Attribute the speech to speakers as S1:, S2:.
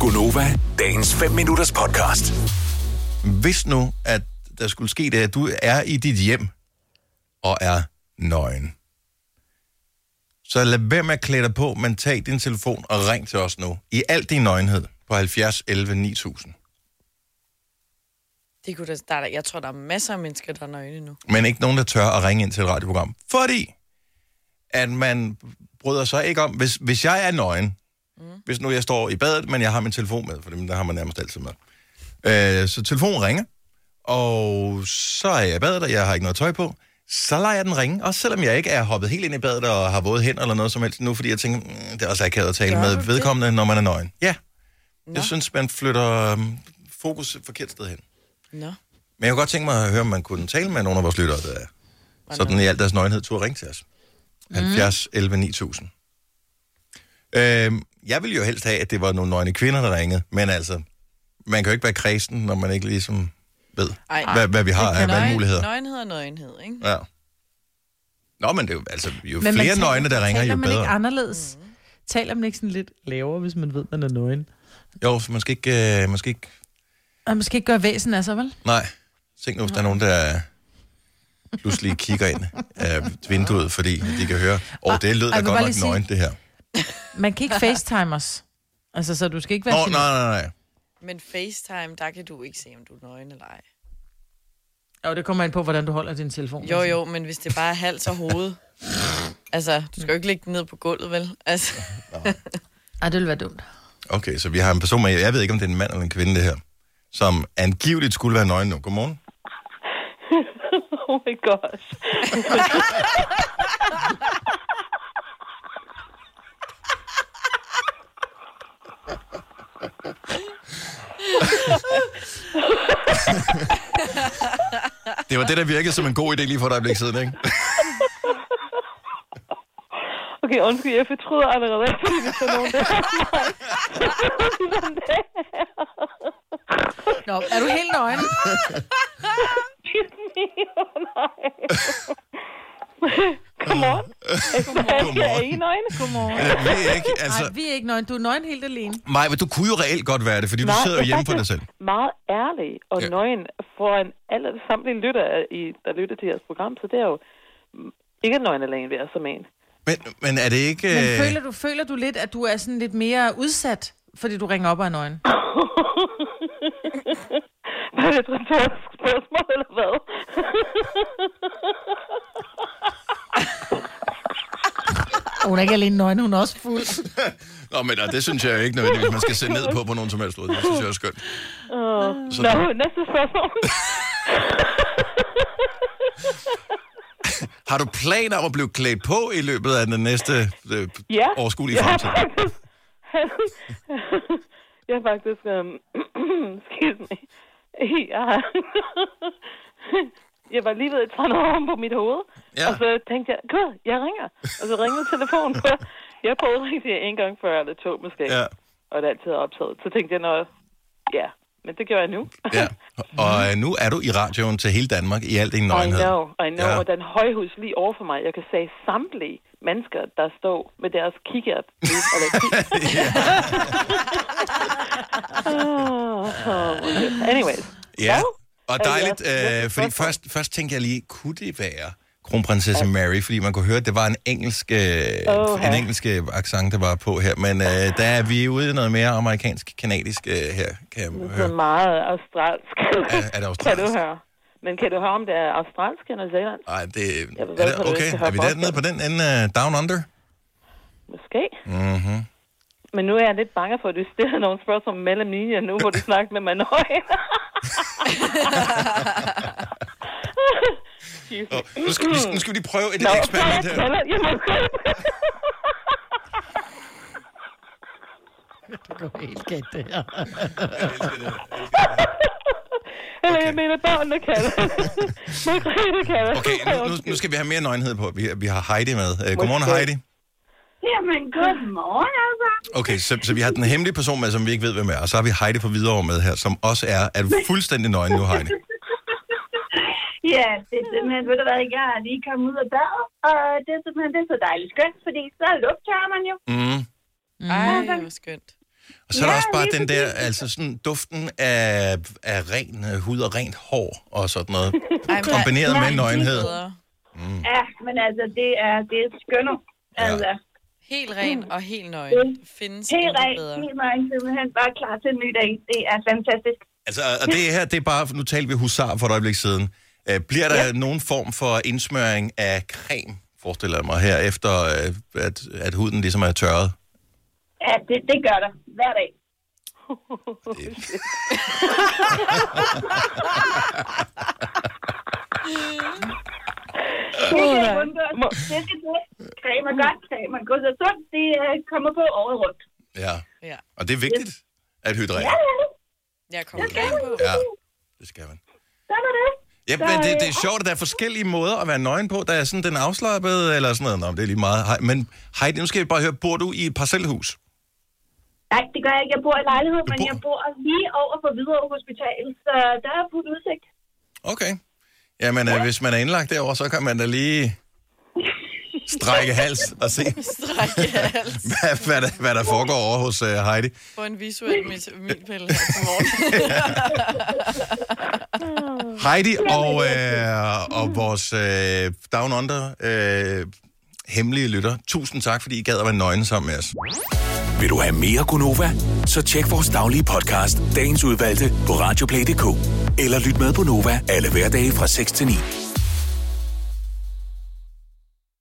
S1: Gunova, dagens 5 minutters podcast.
S2: Hvis nu, at der skulle ske det, at du er i dit hjem og er nøgen, så lad være med at klæde dig på, men tag din telefon og ring til os nu. I al din nøgenhed på 70 11 9000.
S3: Det kunne da, der, er da- jeg tror, der er masser af mennesker, der er nøgne nu.
S2: Men ikke nogen, der tør at ringe ind til et radioprogram. Fordi, at man bryder sig ikke om, hvis, hvis jeg er nøgen, mm. hvis nu jeg står i badet, men jeg har min telefon med, for det der har man nærmest altid med. Øh, så telefonen ringer, og så er jeg i badet, og jeg har ikke noget tøj på. Så lader jeg den ringe, også selvom jeg ikke er hoppet helt ind i badet og har våde hænder eller noget som helst nu, fordi jeg tænker, mm, det er også akavet at tale
S3: Gør
S2: med
S3: du det?
S2: vedkommende, når man er nøgen. Ja. Jeg synes, man flytter øhm, fokus et forkert sted hen. Men
S3: Nå.
S2: jeg kunne godt tænke mig at høre, om man kunne tale med nogle af vores lyttere, der er sådan i al deres nøgenhed turde ringe til os.
S4: Mm.
S2: 70 11 9000. Øhm, jeg ville jo helst have, at det var nogle nøgne kvinder, der ringede, men altså, man kan jo ikke være kristen, når man ikke ligesom ved,
S3: Ej.
S2: hvad, hvad vi har af
S3: Nøgen-
S2: valgmuligheder.
S3: Nøgenhed og nøgenhed, ikke?
S2: Ja. Nå, men det er jo, altså, jo
S4: Men man
S2: flere
S4: taler-
S2: nøgne, der ringer,
S4: taler
S2: jo
S4: man ikke
S2: bedre.
S4: anderledes? Mm. Taler man ikke sådan lidt lavere, hvis man ved, man er nøgen?
S2: Jo, for man skal ikke... Øh, man skal ikke
S4: Og man skal ikke gøre væsen af sig, vel?
S2: nej, tænk nu, hvis der er nogen, der pludselig kigger ind af vinduet, fordi de kan høre, åh, oh, det lød
S4: Ej,
S2: da
S4: jeg vil
S2: godt
S4: bare
S2: nok
S4: lige sige-
S2: nøgen, det her.
S4: Man kan ikke facetime os. Altså, så du skal ikke være...
S2: Nå,
S4: geni-
S2: nej, nej, nej.
S3: Men FaceTime, der kan du ikke se, om du er nøgen eller ej.
S4: Jo, det kommer ind på, hvordan du holder din telefon.
S3: Jo, jo, men hvis det bare er hals og hoved. altså, du skal jo ikke ligge den ned på gulvet, vel? Altså,
S4: Ej, det ville være dumt.
S2: Okay, så vi har en person med, jeg ved ikke, om det er en mand eller en kvinde, det her, som angiveligt skulle være nøgen nu. Godmorgen.
S5: Oh my gosh.
S2: Det var det, der virkede som en god idé lige for et øjeblik siden, ikke?
S5: Okay, undskyld, jeg fortryder allerede, fordi vi tager nogen der.
S4: Nå, er du helt nøgen?
S5: Godmorgen. Er I
S2: Godmorgen.
S5: nøgne? Godmorgen.
S2: Jeg ved ikke, altså...
S4: Nej, vi er ikke nøgen. Du er nøgen helt alene.
S2: Maja, men du kunne jo reelt godt være det, fordi du sidder jo hjemme på dig selv.
S5: Meget ærlig og
S2: Ja.
S5: ja. nøgen foran alle samtlige lyttere, i- der lytter til jeres program, så det er jo mm, ikke nøgen alene ved som en.
S2: Men, men er det ikke...
S4: Men
S2: øh,
S4: føler, du, føler du lidt, at du er sådan lidt mere udsat, fordi du ringer op og er nøgen?
S5: Var det et retorisk spørgsmål, eller hvad?
S4: Og hun er ikke alene nøgen, hun er også fuld.
S2: Nå, men øh, det synes jeg jo ikke nødvendigvis, man skal se ned på på nogen som helst måde. Det synes jeg er skønt. Så,
S5: Nå, næste spørgsmål.
S2: har du planer om at blive klædt på i løbet af den næste øh,
S5: Ja.
S2: overskuelige
S5: jeg har
S2: fremtid?
S5: faktisk... jeg har faktisk... Um, excuse me. Jeg, har, jeg var lige ved at tage noget om på mit hoved.
S2: Ja.
S5: Og så tænkte jeg, gud, jeg ringer. Og så ringede telefonen. Så jeg prøvede rigtig en gang før, eller to måske.
S2: Ja.
S5: Og det er altid optaget. Så tænkte jeg noget. Ja, men det gør jeg nu.
S2: Ja. Og øh, nu er du i radioen til hele Danmark i al din
S5: I
S2: nøgenhed.
S5: know, I know.
S2: Ja.
S5: Ja. Og den højhus lige over for mig, jeg kan sige samtlige mennesker, der står med deres kikkert. ud, eller kik- Åh, oh, anyways.
S2: Ja,
S5: Hvad?
S2: og
S5: Øh,
S2: dejligt,
S5: ja, jeg
S2: øh,
S5: synes
S2: fordi
S5: godt,
S2: først, først tænkte jeg lige, kunne det være kronprinsesse Mary, fordi man kunne høre, at det var en engelsk, øh,
S5: Åh,
S2: en
S5: ja.
S2: engelsk øh, accent, der var på her, men øh, der er vi ude i noget mere amerikansk-kanadisk øh, her, kan jeg
S5: Det
S2: høre.
S5: er meget australsk.
S2: Er- er det
S5: Kan du
S2: australsk?
S5: høre? Men kan du høre, om det er australsk eller Zealand?
S2: Ej, det, er
S5: Jeg ved godt,
S2: det
S5: at du ikke
S2: okay?
S5: kan
S2: Er
S5: høre
S2: vi dernede på
S5: forskel.
S2: den ende? Uh, down Under?
S5: Måske. Mm-hmm. Men nu er jeg lidt bange for, at du stiller nogle spørgsmål mellem linjer nu, hvor du snakker med mig nøje.
S2: Oh, nu, skal, vi- nu skal vi lige prøve et
S5: Nå,
S2: eksperiment her.
S5: Zealand, jeg må gå.
S4: Det går helt galt, det her.
S5: Eller jeg mener børnene kalder. Margrethe kalder.
S2: Okay, nu, nu, nu skal vi have mere nøgenhed på. Vi, vi har Heidi med. Uh, godmorgen,
S5: Måske.
S2: Heidi.
S6: Jamen, godmorgen, altså.
S2: Okay, så, så vi har den hemmelige person med, som vi ikke ved, hvem er, og så har vi Heidi fra Hvidovre med her, som også er, er du fuldstændig nøgen nu, Heidi.
S6: Ja, det er simpelthen, ved du hvad, jeg er lige kommet ud af badet, og det er simpelthen det er så dejligt skønt, fordi så lugter man jo.
S2: Mm.
S3: ej, hvor skønt.
S2: Og så er der
S6: Ja,
S2: også bare
S6: lige
S2: den der,
S6: præcis.
S2: altså sådan duften af, af ren øh, hud og rent hår og sådan noget,
S3: Ej, men-
S2: kombineret med
S6: nej,
S2: nøgenhed.
S3: bedre.
S6: Ja, men altså, det er, det er skønner. Altså,
S3: Helt ren og helt nøgen. Det findes
S6: helt
S3: intet
S6: rent,
S3: bedre.
S6: helt nøgen, simpelthen bare klar til en ny dag. Det er fantastisk.
S2: Altså, og det her, det er bare, nu talte vi husar for et øjeblik siden. Øh, Bliver der nogen form for indsmøring af creme, forestiller jeg mig her, efter øh, at, at huden ligesom er tørret?
S6: Ja, det, det gør der hver dag. Det kan jeg undgå. Det skal til. Creme er godt, creme er godt og sundt. Det øh, kommer på året rundt.
S2: Ja.
S3: Ja.
S2: Og det er vigtigt at hydrere.
S3: Jeg kommer gerne på.
S2: Ja, det skal man.
S6: Sådan er det.
S2: Ja, men det, det er sjovt, at der er forskellige måder at være nøgen på. Der er sådan den afslappede, eller sådan noget. Nå, men det er lige meget. Hej, men Heidi, nu skal vi bare høre, bor du i et parcelhus?
S6: Nej, det gør jeg ikke. Jeg bor i lejlighed, men
S2: bor-
S6: jeg bor lige over for Hvidovre Hospital, så der er på udsigt.
S2: Okay. Jamen, ja. hvis man er indlagt derovre, så kan man da lige strække hals og se,
S3: Strække hals.
S2: hvad, hvad, der, hvad der foregår over hos uh, Heidi.
S3: Få en visuel mit- altså, milepæl her til morgen.
S2: Heidi og, øh, og vores øh, Down Under øh, hemmelige lytter, tusind tak, fordi I gad at være nøgne sammen med os.
S1: Vil du have mere Gunova? Så tjek vores daglige podcast, dagens udvalgte, på radioplay.dk. Eller lyt med på Nova alle hverdage fra 6 til 9.